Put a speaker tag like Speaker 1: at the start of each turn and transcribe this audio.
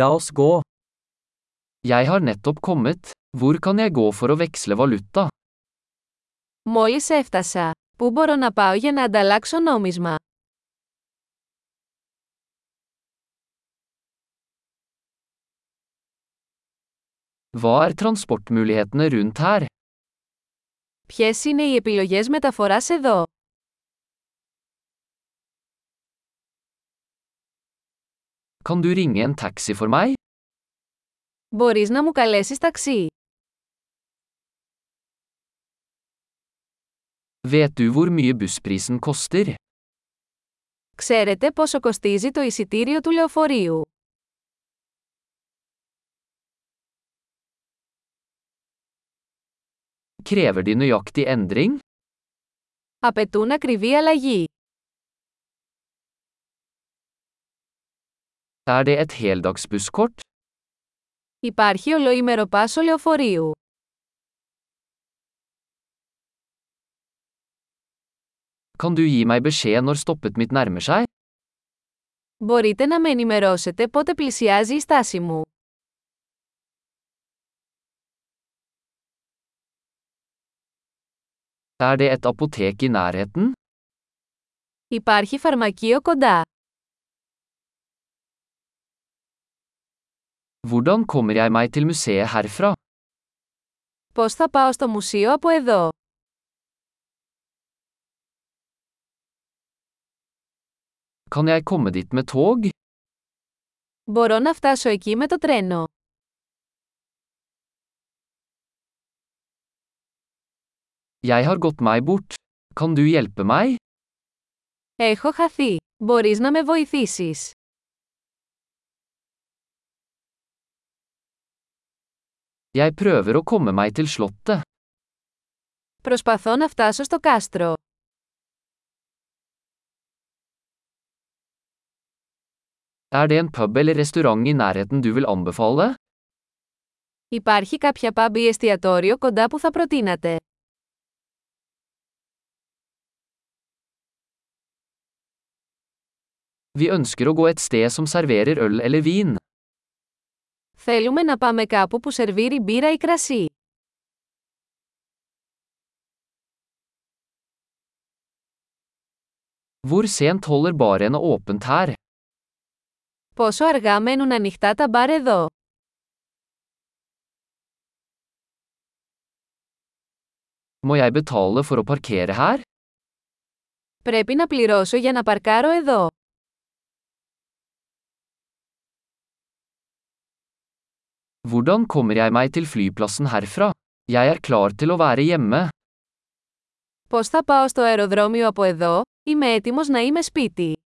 Speaker 1: La oss gå. Jeg har nettopp kommet. Hvor kan jeg gå for å veksle valuta?
Speaker 2: Μόλις έφτασα. Πού μπορώ να πάω για να ανταλλάξω νόμισμα.
Speaker 1: Hva er transportmulighetene rundt her?
Speaker 2: Ποιες είναι οι επιλογές μεταφοράς εδώ.
Speaker 1: Kan du ringe en taxi for meg?
Speaker 2: Μπορείς να μου καλέσεις ταξί.
Speaker 1: Vet du hvor mye bussprisen koster?
Speaker 2: Ξέρετε πόσο κοστίζει το εισιτήριο του λεωφορείου.
Speaker 1: Krever de nøyaktig endring?
Speaker 2: Απαιτούν ακριβή αλλαγή.
Speaker 1: Er det et heldagsbusskort?
Speaker 2: Υπάρχει ολοήμερο πάσο λεωφορείου.
Speaker 1: Kan du gi meg beskjed når stoppet mitt nærmer seg?
Speaker 2: Μπορείτε να με ενημερώσετε πότε πλησιάζει η στάση μου.
Speaker 1: Er det et apotek i nærheten?
Speaker 2: Υπάρχει φαρμακείο κοντά.
Speaker 1: Hvordan kommer jeg meg til museet herfra?
Speaker 2: Πώς θα πάω στο μουσείο από εδώ.
Speaker 1: Kan jeg komme dit med tog?
Speaker 2: Μπορώ να φτάσω εκεί με το τρένο.
Speaker 1: Jeg har gått meg bort. Kan du hjelpe meg?
Speaker 2: Έχω χαθεί. Μπορείς να με βοηθήσεις.
Speaker 1: Jeg prøver å komme meg til slottet.
Speaker 2: Προσπαθώ να φτάσω στο κάστρο.
Speaker 1: Er det en pub eller restaurant i nærheten du vil anbefale?
Speaker 2: Υπάρχει κάποια pub ή εστιατόριο κοντά που θα προτείνατε.
Speaker 1: Vi ønsker å gå et sted som serverer øl eller vin.
Speaker 2: Θέλουμε να πάμε κάπου που σερβίρει μπύρα ή κρασί.
Speaker 1: Hvor sent holder barene åpent her?
Speaker 2: Πόσο αργά μένουν ανοιχτά τα μπαρ εδώ.
Speaker 1: Må jeg betale for å parkere her?
Speaker 2: Πρέπει να πληρώσω για να παρκάρω εδώ.
Speaker 1: Hvordan kommer jeg meg til flyplassen herfra? Jeg er klar til å være hjemme.
Speaker 2: Πώς θα πάω στο αεροδρόμιο από εδώ, είμαι έτοιμος να είμαι σπίτι.